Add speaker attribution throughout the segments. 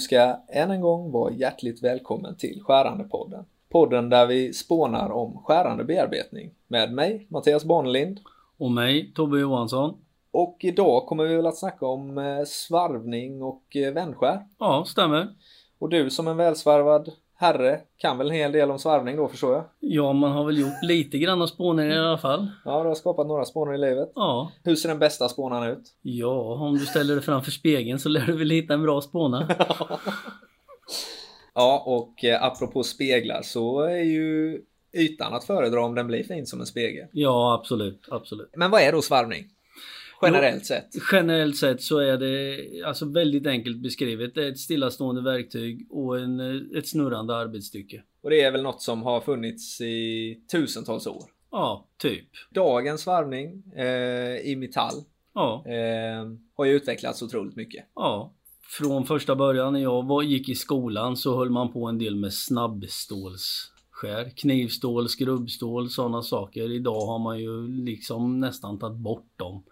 Speaker 1: ska än en gång vara hjärtligt välkommen till Skärandepodden. Podden där vi spånar om skärande bearbetning med mig, Mattias Barnelind.
Speaker 2: Och mig, Tobbe Johansson.
Speaker 1: Och idag kommer vi väl att snacka om eh, svarvning och eh, vändskär.
Speaker 2: Ja, stämmer.
Speaker 1: Och du som en välsvarvad herre kan väl en hel del om svarvning då förstår jag?
Speaker 2: Ja, man har väl gjort lite grann av spåning i alla fall.
Speaker 1: Ja, du har skapat några spånor i livet.
Speaker 2: Ja,
Speaker 1: Hur ser den bästa spånaren ut?
Speaker 2: ja, om du ställer dig framför spegeln så lär du väl hitta en bra spåna.
Speaker 1: Ja, och eh, apropå speglar så är ju ytan att föredra om den blir fin som en spegel.
Speaker 2: Ja, absolut, absolut.
Speaker 1: Men vad är då svarvning? Generellt sett.
Speaker 2: Generellt sett så är det alltså väldigt enkelt beskrivet. Det är ett stillastående verktyg och en, eh, ett snurrande arbetsstycke.
Speaker 1: Och det är väl något som har funnits i tusentals år.
Speaker 2: Ja, typ.
Speaker 1: Dagens svarvning eh, i metall
Speaker 2: Ja,
Speaker 1: eh, har ju utvecklats otroligt mycket.
Speaker 2: ja. Från första början när jag var, gick i skolan så höll man på en del med snabbstålsskär. Knivstål, skrubbstål, sådana saker. Idag har man ju liksom nästan tagit bort dem.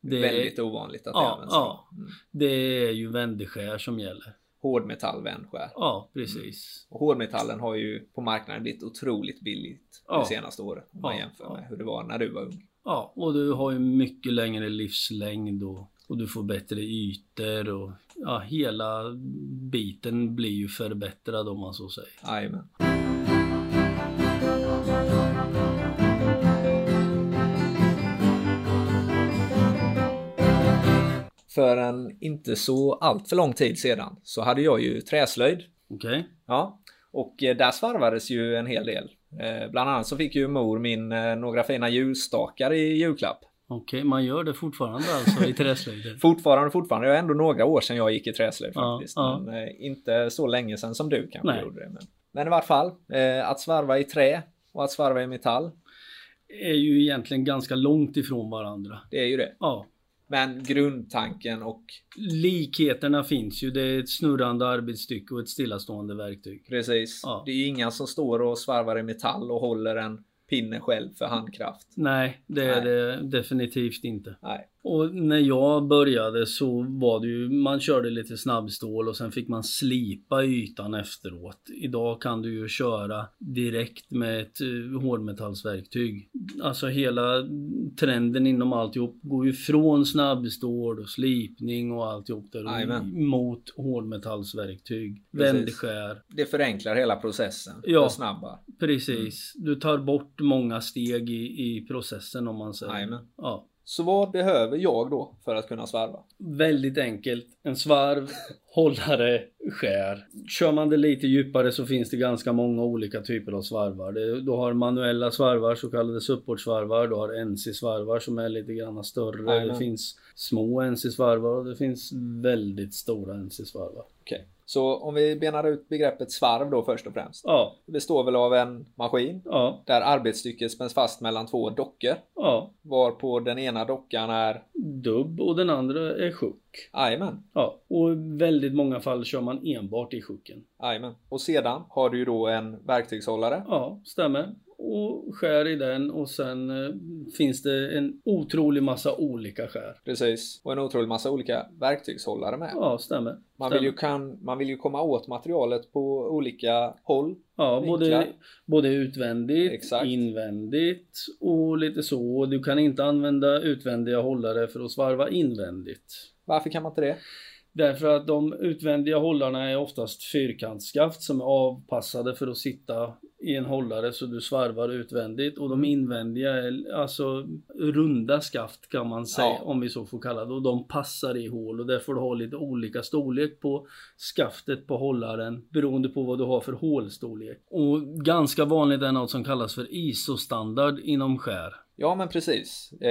Speaker 2: Det,
Speaker 1: Väldigt ovanligt att det
Speaker 2: Ja,
Speaker 1: används.
Speaker 2: ja.
Speaker 1: Mm.
Speaker 2: det är ju vändeskär som gäller.
Speaker 1: Hårdmetall vändskär.
Speaker 2: Ja, precis.
Speaker 1: Och hårdmetallen har ju på marknaden blivit otroligt billigt
Speaker 2: Ja.
Speaker 1: de senaste åren. Om man
Speaker 2: Ja,
Speaker 1: jämför
Speaker 2: ja.
Speaker 1: med hur det var när du var ung.
Speaker 2: Ja, och du har ju mycket längre livslängd och, och du får bättre ytor och ja, hela biten blir ju förbättrad om man så säger.
Speaker 1: Jajamän. För en inte så allt för lång tid sedan så hade jag ju träslöjd.
Speaker 2: Okej?
Speaker 1: Ja, och eh, där svarvades ju en hel del. Eh, Bland annat så fick ju mor min eh, några fina ljusstakar i julklapp.
Speaker 2: Okej, man gör det fortfarande alltså i träslöjden?
Speaker 1: Fortfarande, fortfarande. Det var ändå några år sedan jag gick i träslöjd
Speaker 2: Ja,
Speaker 1: faktiskt.
Speaker 2: ja.
Speaker 1: Men eh, inte så länge sedan som du kanske
Speaker 2: Nej.
Speaker 1: gjorde det. Men, men i vart fall, eh, att svarva i trä och att svarva i metall,
Speaker 2: är ju egentligen ganska långt ifrån varandra.
Speaker 1: det är ju det.
Speaker 2: Ja,
Speaker 1: Men grundtanken och
Speaker 2: likheterna finns ju. Det är ett snurrande arbetsstycke och ett stillastående verktyg.
Speaker 1: precis,
Speaker 2: Ja.
Speaker 1: det är ju inga som står och svarvar i metall och håller en pinne själv för handkraft.
Speaker 2: Nej, det
Speaker 1: Nej.
Speaker 2: är det definitivt inte.
Speaker 1: Nej,
Speaker 2: Och när jag började så var det ju, man körde lite snabbstål och sen fick man slipa ytan efteråt. Idag kan du ju köra direkt med ett eh, hårdmetallsverktyg. Alltså hela trenden inom alltihop går ju från snabbstål och slipning och alltihop där
Speaker 1: Jajamän.
Speaker 2: mot hårdmetallsverktyg.
Speaker 1: Precis.
Speaker 2: Vändskär.
Speaker 1: det förenklar hela processen.
Speaker 2: Ja.
Speaker 1: Försnabbar.
Speaker 2: Precis.
Speaker 1: Mm.
Speaker 2: Du tar bort många steg i, i processen om man säger.
Speaker 1: Jajamän.
Speaker 2: Ja.
Speaker 1: Så vad behöver jag då för att kunna svarva?
Speaker 2: Väldigt enkelt. En svarv, hållare, skär. Kör man det lite djupare så finns det ganska många olika typer av svarvar. Det- Du har manuella svarvar, så kallade supportsvarvar. Du har NC-svarvar som är lite grann större.
Speaker 1: Jajamän.
Speaker 2: Det finns små NC-svarvar och det finns väldigt stora NC-svarvar.
Speaker 1: Okej. Så om vi benar ut begreppet svarv då först och främst.
Speaker 2: Ja,
Speaker 1: Det består väl av en maskin
Speaker 2: ja,
Speaker 1: där arbetsstycket spänns fast mellan två dockor
Speaker 2: ja.
Speaker 1: varpå den ena dockan är
Speaker 2: Dubb och den andra är sjuk.
Speaker 1: Jajamän,
Speaker 2: Ja, och i väldigt många fall kör man enbart i sjuken.
Speaker 1: jajamän. Och sedan har du ju då en verktygshållare.
Speaker 2: Ja, stämmer. Och skär i den och sen eh, finns det en otrolig massa olika skär.
Speaker 1: Precis. Och en otrolig massa olika verktygshållare med.
Speaker 2: Ja, stämmer.
Speaker 1: Man vill, ju
Speaker 2: Stämmer.
Speaker 1: kan, man vill ju komma åt materialet på olika håll.
Speaker 2: Ja, både,
Speaker 1: vinklar.
Speaker 2: både utvändigt,
Speaker 1: Exakt.
Speaker 2: invändigt och lite så. Du kan inte använda utvändiga hållare för att svarva invändigt.
Speaker 1: Varför kan man inte det?
Speaker 2: Därför att de utvändiga hållarna är oftast fyrkantsskaft som är avpassade för att sitta i en hållare så du svarvar utvändigt och
Speaker 1: Mm.
Speaker 2: de invändiga är alltså runda skaft kan man säga
Speaker 1: Ja.
Speaker 2: om vi så får kalla det och de passar i hål och där får du ha lite olika storlek på skaftet på hållaren beroende på vad du har för hålstorlek. Och ganska vanligt är något som kallas för ISO-standard inom skär.
Speaker 1: Ja, men precis. Eh,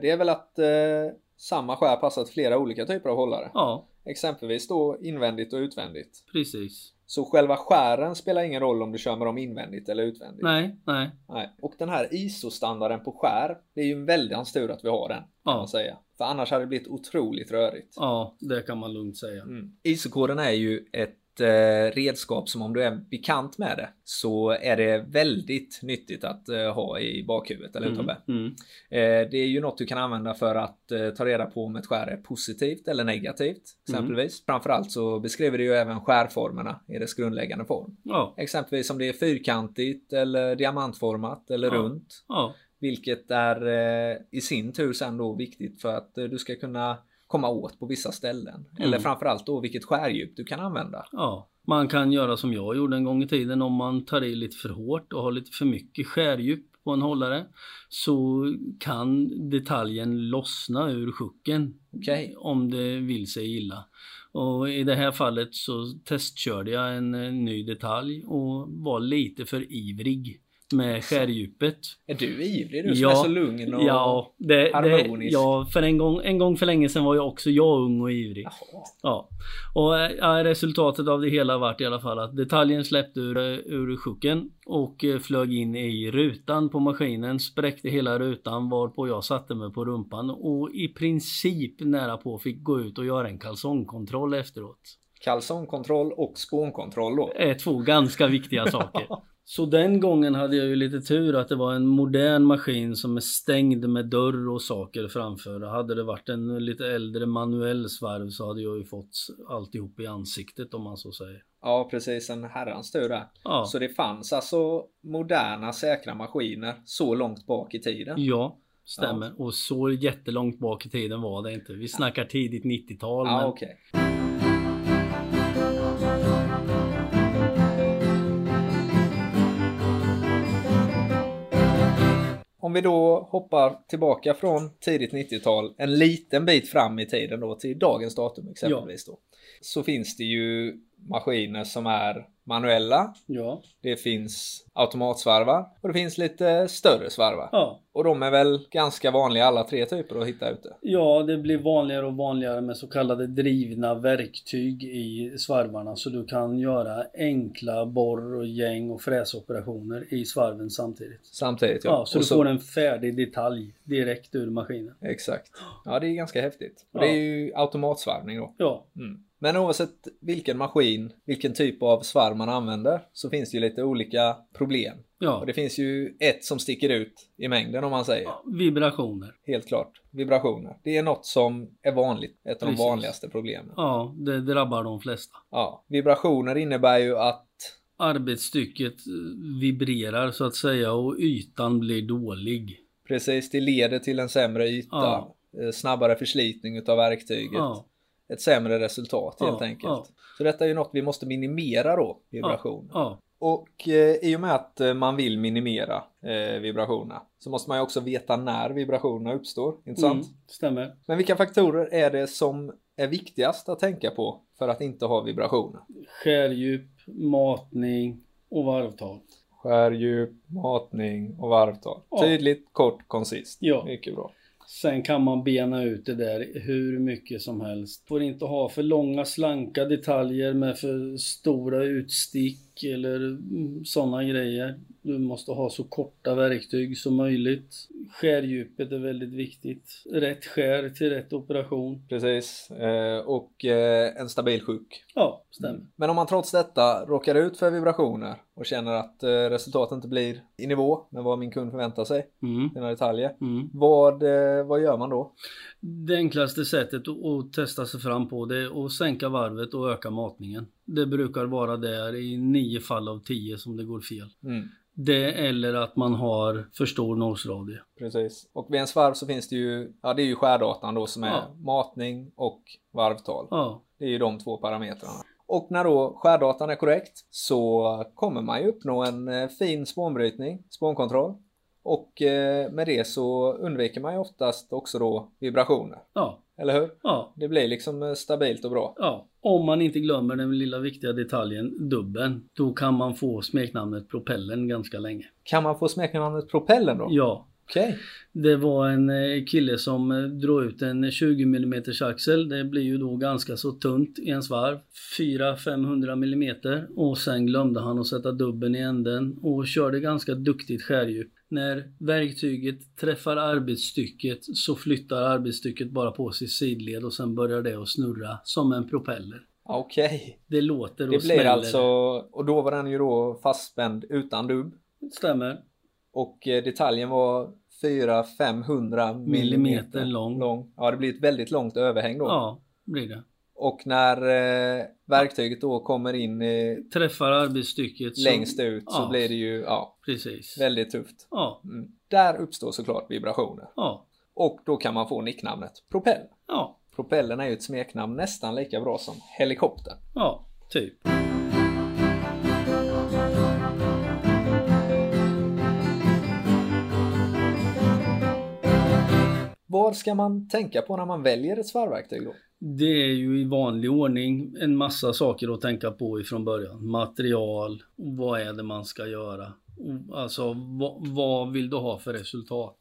Speaker 1: det är väl att eh, samma skär passar till flera olika typer av hållare.
Speaker 2: Ja,
Speaker 1: Exempelvis då invändigt och utvändigt.
Speaker 2: precis.
Speaker 1: Så själva skären spelar ingen roll om du kör med dem invändigt eller utvändigt.
Speaker 2: Nej, nej.
Speaker 1: Nej. Och den här ISO-standarden på skär, det är ju en väldans tur att vi har den. Kan
Speaker 2: Ja.
Speaker 1: man säga. För annars hade det blivit otroligt rörigt.
Speaker 2: Ja, det kan man lugnt säga.
Speaker 1: Mm. ISO-koden är ju ett eh, redskap som om du är bekant med det så är det väldigt nyttigt att eh, ha i bakhuvudet, eller hur Tobbe?
Speaker 2: Mm.
Speaker 1: Eh, Det är ju något du kan använda för att eh, ta reda på om ett skär är positivt eller negativt.
Speaker 2: Mm.
Speaker 1: Exempelvis. Framförallt så beskriver det ju även skärformerna i dess grundläggande form.
Speaker 2: Ja.
Speaker 1: Exempelvis om det är fyrkantigt eller diamantformat eller
Speaker 2: Ja.
Speaker 1: runt.
Speaker 2: ja.
Speaker 1: Vilket är eh, i sin tur sen då viktigt för att eh, du ska kunna komma åt på vissa ställen.
Speaker 2: Mm.
Speaker 1: Eller framförallt då vilket skärdjup du kan använda.
Speaker 2: Ja, man kan göra som jag gjorde en gång i tiden om man tar i lite för hårt och har lite för mycket skärdjup på en hållare så kan detaljen lossna ur sjuken
Speaker 1: Okej.
Speaker 2: om det vill sig illa. Och i det här fallet så testkörde jag en eh, ny detalj och var lite för ivrig med skärdjupet.
Speaker 1: Är du ivrig du som
Speaker 2: Ja.
Speaker 1: Alltså, är så lugn och...
Speaker 2: Ja, det, det,
Speaker 1: harmoniskt.
Speaker 2: ja för en gång, en gång för länge sedan var jag också jag ung och ivrig.
Speaker 1: Jaha.
Speaker 2: Ja, och eh, ja, resultatet av det hela vart i alla fall att detaljen släppte ur, eh, ur sjuken och eh, flög in i rutan på maskinen, spräckte hela rutan varpå jag satte mig på rumpan och i princip nära på fick gå ut och göra en kalsongkontroll efteråt.
Speaker 1: Kalsongkontroll och spånkontroll då.
Speaker 2: Är två ganska viktiga saker. Så den gången hade jag ju lite tur att det var en modern maskin som är stängd med dörr och saker framför. Hade det varit en lite äldre manuell svarv så hade jag ju fått alltihop i ansiktet om man så säger.
Speaker 1: Ja, precis. En herrans tur där.
Speaker 2: Ja.
Speaker 1: Så det fanns alltså moderna säkra maskiner så långt bak i tiden.
Speaker 2: Ja, stämmer. Och så jättelångt bak i tiden var det inte. Vi snackar tidigt 90-tal.
Speaker 1: Ja,
Speaker 2: men-
Speaker 1: okej. Om vi då hoppar tillbaka från tidigt 90-tal en liten bit fram i tiden då till dagens datum exempelvis då. Så finns det ju maskiner som är manuella.
Speaker 2: ja.
Speaker 1: Det finns automatsvarvar och det finns lite större svarvar.
Speaker 2: ja.
Speaker 1: Och de är väl ganska vanliga alla tre typer att hitta ute.
Speaker 2: Ja, det blir vanligare och vanligare med så kallade drivna verktyg i svarvarna så du kan göra enkla borr och gäng och fräsoperationer i svarven samtidigt.
Speaker 1: Samtidigt
Speaker 2: Ja, så
Speaker 1: Och
Speaker 2: du får en färdig detalj direkt ur maskinen.
Speaker 1: Exakt. Ja, det är ganska häftigt. Och
Speaker 2: Ja.
Speaker 1: det är ju automatsvarvning då.
Speaker 2: Ja,
Speaker 1: Mm. Men oavsett vilken maskin, vilken typ av svarv man använder så finns det ju lite olika problem.
Speaker 2: ja.
Speaker 1: Och det finns ju ett som sticker ut i mängden om man säger.
Speaker 2: ja vibrationer.
Speaker 1: Helt klart. Vibrationer. Det är något som är vanligt. Ett av de
Speaker 2: Precis.
Speaker 1: vanligaste problemen. Ja.
Speaker 2: Ja, det drabbar de flesta.
Speaker 1: Vibrationer innebär ju att...
Speaker 2: Arbetsstycket eh, vibrerar så att säga och ytan blir dålig.
Speaker 1: Precis, det leder till en sämre yta.
Speaker 2: Ja.
Speaker 1: eh, Snabbare förslitning utav verktyget.
Speaker 2: Ja.
Speaker 1: Ett sämre resultat
Speaker 2: Ja,
Speaker 1: helt enkelt.
Speaker 2: ja.
Speaker 1: Så detta är ju något vi måste minimera då, vibrationer.
Speaker 2: Ja,
Speaker 1: Och eh, i och med att eh, man vill minimera eh, vibrationerna så måste man ju också veta när vibrationerna uppstår. Inte sant?
Speaker 2: mm, stämmer.
Speaker 1: Men vilka faktorer är det som är viktigast att tänka på för att inte ha vibrationer?
Speaker 2: Skärdjup, matning och varvtal.
Speaker 1: Skärdjup, matning och varvtal.
Speaker 2: Ja.
Speaker 1: Tydligt, kort, koncist.
Speaker 2: Ja.
Speaker 1: Mycket bra.
Speaker 2: Sen kan man bena ut det där hur mycket som helst. Får inte ha för långa slanka detaljer med för stora utstick eller sådana grejer. Du måste ha så korta verktyg som möjligt. Skärdjupet är väldigt viktigt. Rätt skär till rätt operation.
Speaker 1: Precis. Eh, och eh, en stabil sjuk.
Speaker 2: Ja, stämmer.
Speaker 1: Men om man trots detta råkar ut för vibrationer och känner att eh, resultatet inte blir i nivå med vad min kund förväntar sig,
Speaker 2: Mm.
Speaker 1: sina detaljer.
Speaker 2: Mm.
Speaker 1: Vad, eh, vad gör man då?
Speaker 2: Det enklaste sättet att- att testa sig fram på det är att sänka varvet och öka matningen. Det brukar vara där i nio fall av tio som det går fel.
Speaker 1: Mm.
Speaker 2: Det eller att man har för stor nosradie.
Speaker 1: Precis. Och vid en svarv så finns det ju, ja det är ju skärdatan då som är
Speaker 2: Ja.
Speaker 1: matning och varvtal.
Speaker 2: Ja,
Speaker 1: Det är ju de två parametrarna. Och när då skärdatan är korrekt så kommer man ju uppnå en eh, fin spånbrytning, spånkontroll. Och eh, med det så undviker man ju oftast också då vibrationer.
Speaker 2: ja,
Speaker 1: Eller hur?
Speaker 2: ja,
Speaker 1: Det blir liksom eh, stabilt och bra.
Speaker 2: ja. Om man inte glömmer den lilla viktiga detaljen dubben, då kan man få smeknamnet propellen ganska länge.
Speaker 1: Kan man få smeknamnet Propellen då?
Speaker 2: Ja,
Speaker 1: Okej.
Speaker 2: det var en eh, kille som eh, drog ut en 20 mm axel. Det blir ju då ganska så tunt i en svarv. 400-500 millimeter och sen glömde han att sätta dubben i änden och körde ganska duktigt skärdjup. När verktyget träffar arbetsstycket så flyttar arbetsstycket bara på sig sidled och sen börjar det att snurra som en propeller.
Speaker 1: Okej.
Speaker 2: Det låter och
Speaker 1: Det blir
Speaker 2: smäller.
Speaker 1: alltså, och då var den ju då fastspänd utan dubb.
Speaker 2: Stämmer.
Speaker 1: Och eh, detaljen var 400-500
Speaker 2: Millimeter lång.
Speaker 1: Ja, det blir ett väldigt långt överhäng då.
Speaker 2: Ja, blir det.
Speaker 1: Och när eh, verktyget då kommer in eh,
Speaker 2: Träffar arbetsstycket så-
Speaker 1: längst ut så
Speaker 2: ja.
Speaker 1: blir det ju ja,
Speaker 2: Precis.
Speaker 1: väldigt tufft.
Speaker 2: Ja,
Speaker 1: Mm. Där uppstår såklart vibrationer.
Speaker 2: ja,
Speaker 1: Och då kan man få nicknamnet propell.
Speaker 2: ja,
Speaker 1: Propellen är ju ett smeknamn nästan lika bra som helikopter.
Speaker 2: ja, typ.
Speaker 1: Vad ska man tänka på när man väljer ett svarvverktyg då?
Speaker 2: Det är ju i vanlig ordning en massa saker att tänka på ifrån början. Material, vad är det man ska göra? Alltså, vad, vad vill du ha för resultat?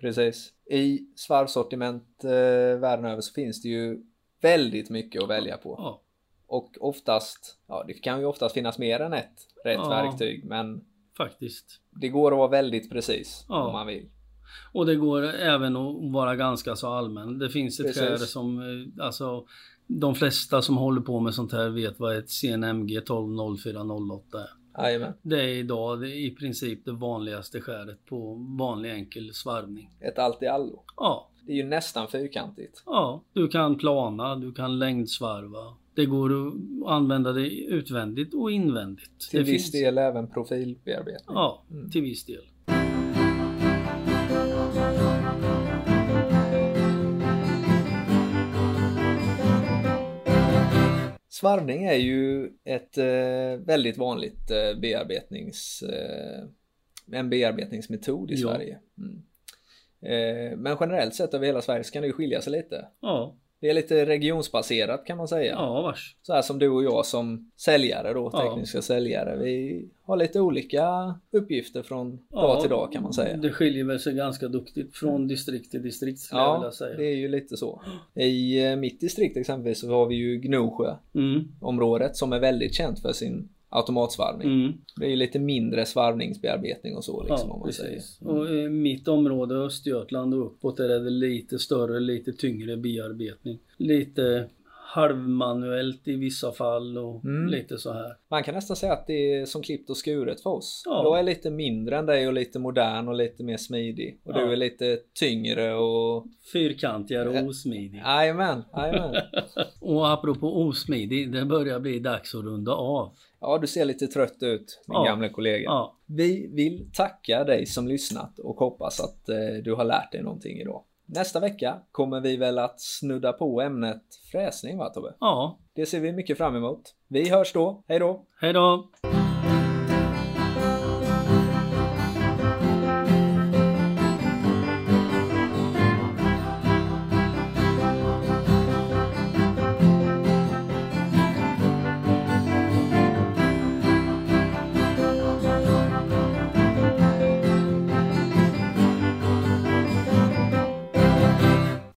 Speaker 1: Precis. I svarvsortiment eh, världen över så finns det ju väldigt mycket att välja på.
Speaker 2: Ja,
Speaker 1: Och oftast, ja det kan ju oftast finnas mer än ett rätt
Speaker 2: Ja.
Speaker 1: verktyg men
Speaker 2: faktiskt.
Speaker 1: det går att vara väldigt precis
Speaker 2: Ja.
Speaker 1: om man vill.
Speaker 2: Och det går även att vara ganska så allmän. Det finns ett
Speaker 1: Precis.
Speaker 2: skäl som, eh, alltså, de flesta som håller på med sånt här vet vad ett CNMG 120408 är.
Speaker 1: Jajamän.
Speaker 2: Det är idag det är i princip det vanligaste skäret på vanlig enkel svarvning.
Speaker 1: Ett allt i allo.
Speaker 2: Ja,
Speaker 1: Det är ju nästan fyrkantigt.
Speaker 2: ja, du kan plana, du kan längdsvarva. Det går att använda det utvändigt och invändigt.
Speaker 1: Till
Speaker 2: det
Speaker 1: viss
Speaker 2: finns-
Speaker 1: del även profilbearbetning.
Speaker 2: Ja,
Speaker 1: Mm.
Speaker 2: till viss del.
Speaker 1: Svarvning är ju ett eh, väldigt vanligt eh, bearbetnings, eh, en bearbetningsmetod i
Speaker 2: Ja.
Speaker 1: Sverige. Mm. Eh, men generellt sett över hela Sverige så kan det ju skilja sig lite.
Speaker 2: Ja,
Speaker 1: Det är lite regionsbaserat kan man säga.
Speaker 2: ja vars.
Speaker 1: Så här som du och jag som säljare då,
Speaker 2: Ja.
Speaker 1: tekniska säljare. Vi har lite olika uppgifter från
Speaker 2: Ja,
Speaker 1: dag till dag kan man säga.
Speaker 2: Det skiljer väl sig ganska duktigt från distrikt till distrikt skulle jag vilja
Speaker 1: Ja,
Speaker 2: säga.
Speaker 1: det är ju lite så. I eh, mitt distrikt exempelvis så har vi ju Gnosjö.
Speaker 2: Mm,
Speaker 1: området som är väldigt känt för sin automatsvarvning.
Speaker 2: mm.
Speaker 1: Det är ju lite mindre svarvningsbearbetning och så liksom om man säger.
Speaker 2: Och eh, mitt område Östergötland och uppåt där är det lite större, lite tyngre bearbetning. Lite halvmanuellt i vissa fall och
Speaker 1: Mm.
Speaker 2: lite så här.
Speaker 1: Man kan nästan säga att det är som klippt och skuret för oss.
Speaker 2: Ja.
Speaker 1: Jag är lite mindre än dig och lite modern och lite mer smidig. Och
Speaker 2: Ja.
Speaker 1: du är lite tyngre och...
Speaker 2: Fyrkantigare och osmidig.
Speaker 1: Jajamän, jajamän.
Speaker 2: Och apropå osmidig, det börjar bli dags att runda av.
Speaker 1: Ja, du ser lite trött ut min
Speaker 2: Ja.
Speaker 1: gamla kollega.
Speaker 2: Ja,
Speaker 1: Vi vill tacka dig som lyssnat och hoppas att eh, du har lärt dig någonting idag. Nästa vecka kommer vi väl att snudda på ämnet fräsning va Tobbe?
Speaker 2: ja.
Speaker 1: Det ser vi mycket fram emot. Vi hörs då. Hej då!
Speaker 2: Hej då!